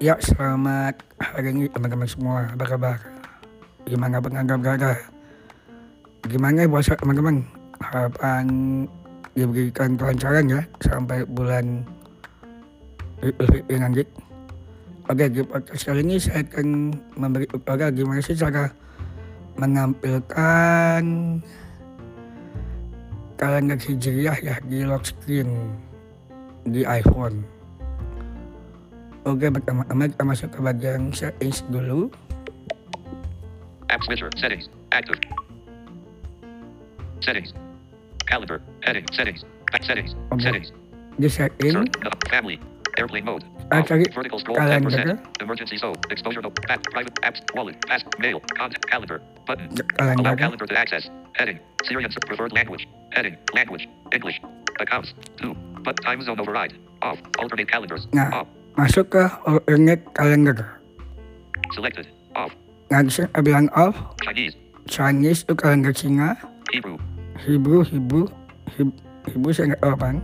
Ya, selamat hari ini teman-teman semua. Apa kabar? Gimana penganggap berada? Gimana puasa teman-teman? Harapan diberikan kelancaran ya sampai bulan Idul Fitri nanti. Oke, di podcast kali ini saya akan memberi tutorial gimana sih cara menampilkan kalender hijriah ya di lock screen di iPhone. Oke, pertama-tama kita masuk ke bagian settings dulu. App switcher. Settings. Active. Settings. Calendar. Heading. Settings. Back settings. Oh, boy. Settings. Di setting, Search. Uh, family. Airplane mode. Ah, Off. sorry. Vertical scroll. Calendar. 10%. Emergency zone. Exposure note. App. Private. Apps. Wallet. Pass. Mail. Contact. Calendar. Button. Allow kalender. calendar to access. Heading. Syrian. Preferred language. Heading. Language. English. Accounts. Two. But time zone override. Off. Alternate calendars. Nah. Off. Masuk ke alternate calendar. Selected. Off. Nah, di sini ada bilang off, Chinese. Chinese itu kalender Cina, Hebrew. Hebrew, Hebrew, Hib- Hebrew saya nggak tahu apaan.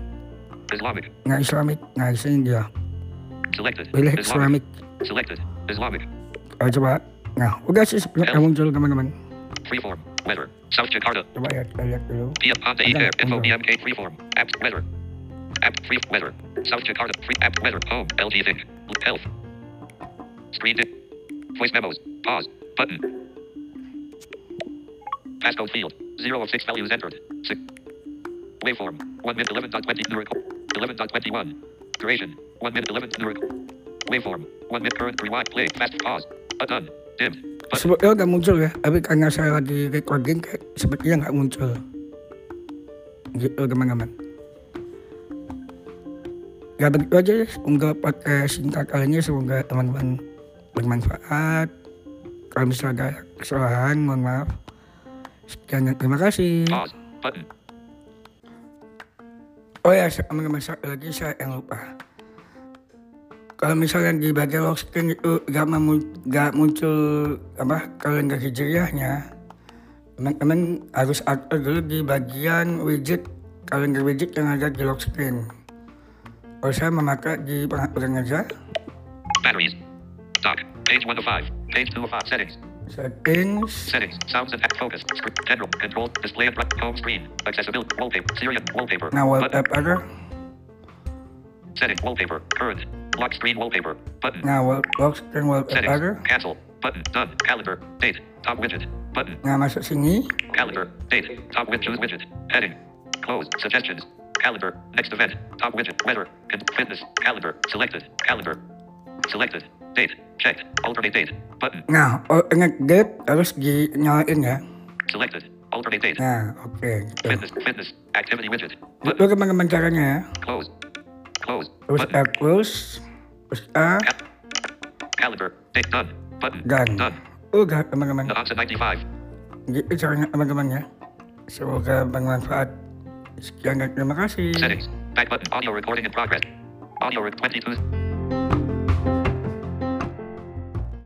Islamic. Nah, Islamic, nah di sini dia. Selected. Pilih Islamic. Islamic. Selected. Islamic. Oh, coba. Nah, udah sih sebelum kamu muncul teman-teman. Freeform. Weather. South Jakarta. Coba ya, kita lihat dulu. PM on the Okay, air. Info okay. BMK freeform. App weather. App free weather. South Jakarta free app weather. Home. LG think. Health. Screen. di- Voice memos. Pause. Button. Pasco field. Zero of six values entered. Six. Waveform. One minute eleven dot twenty numerical. Eleven dot twenty one. Duration. One minute eleven numerical. Waveform. One minute current rewind. Play. Fast pause. Button. Dim. Button. Sebelumnya udah muncul ya, tapi karena saya lagi recording kayak sepertinya nggak muncul. Gitu teman-teman. Ya begitu aja ya, semoga podcast singkat kali ini semoga teman-teman bermanfaat. Kalau misalnya ada kesalahan, mohon maaf. Sekian dan terima kasih. Pause. Button. Oh ya, sa- teman-teman satu lagi saya yang lupa. Kalau misalnya di bagian lock screen itu gak, memu- gak muncul apa kalender hijriahnya, teman-teman harus atur dulu di bagian widget kalender widget yang ada di lock screen. Kalau saya memakai di pengaturan aja, Batteries. Dock. Page 1 of 5. Page 2 of 5. Settings. settings, Settings. Sounds and act focus. Script. General. Control. Display and run. Home screen. Accessibility. Wallpaper. Syrian. Wallpaper. nah Button. wallpaper, Setting. Wallpaper. Current. Lock screen. Wallpaper. Button. nah wall, lock screen Settings. wallpaper, Cancel. Button. Done. Calendar. Date. Top widget. Button. nah masuk sini, Calendar. Date. Top widget. Choose widget. Heading. Close. Suggestions. Calendar. Next event. Top widget. Weather. Con- Fitness. Calendar. Selected. Calendar. Selected. Date. Checked. Alternate date. Button. nah alternate date harus dinyalain ya. Selected. Alternate date. Nah, oke. gitu. Fitness, fitness, activity widget. Itu Button, teman-teman caranya ya. close, close, Terus button, A close, terus A, cal- calendar, date done, button, Done. done. udah teman-teman. The option 95. Gitu caranya teman-teman ya. Semoga bermanfaat. Sekian dan terima kasih. Settings, back button, audio recording in progress. Audio rec- 22.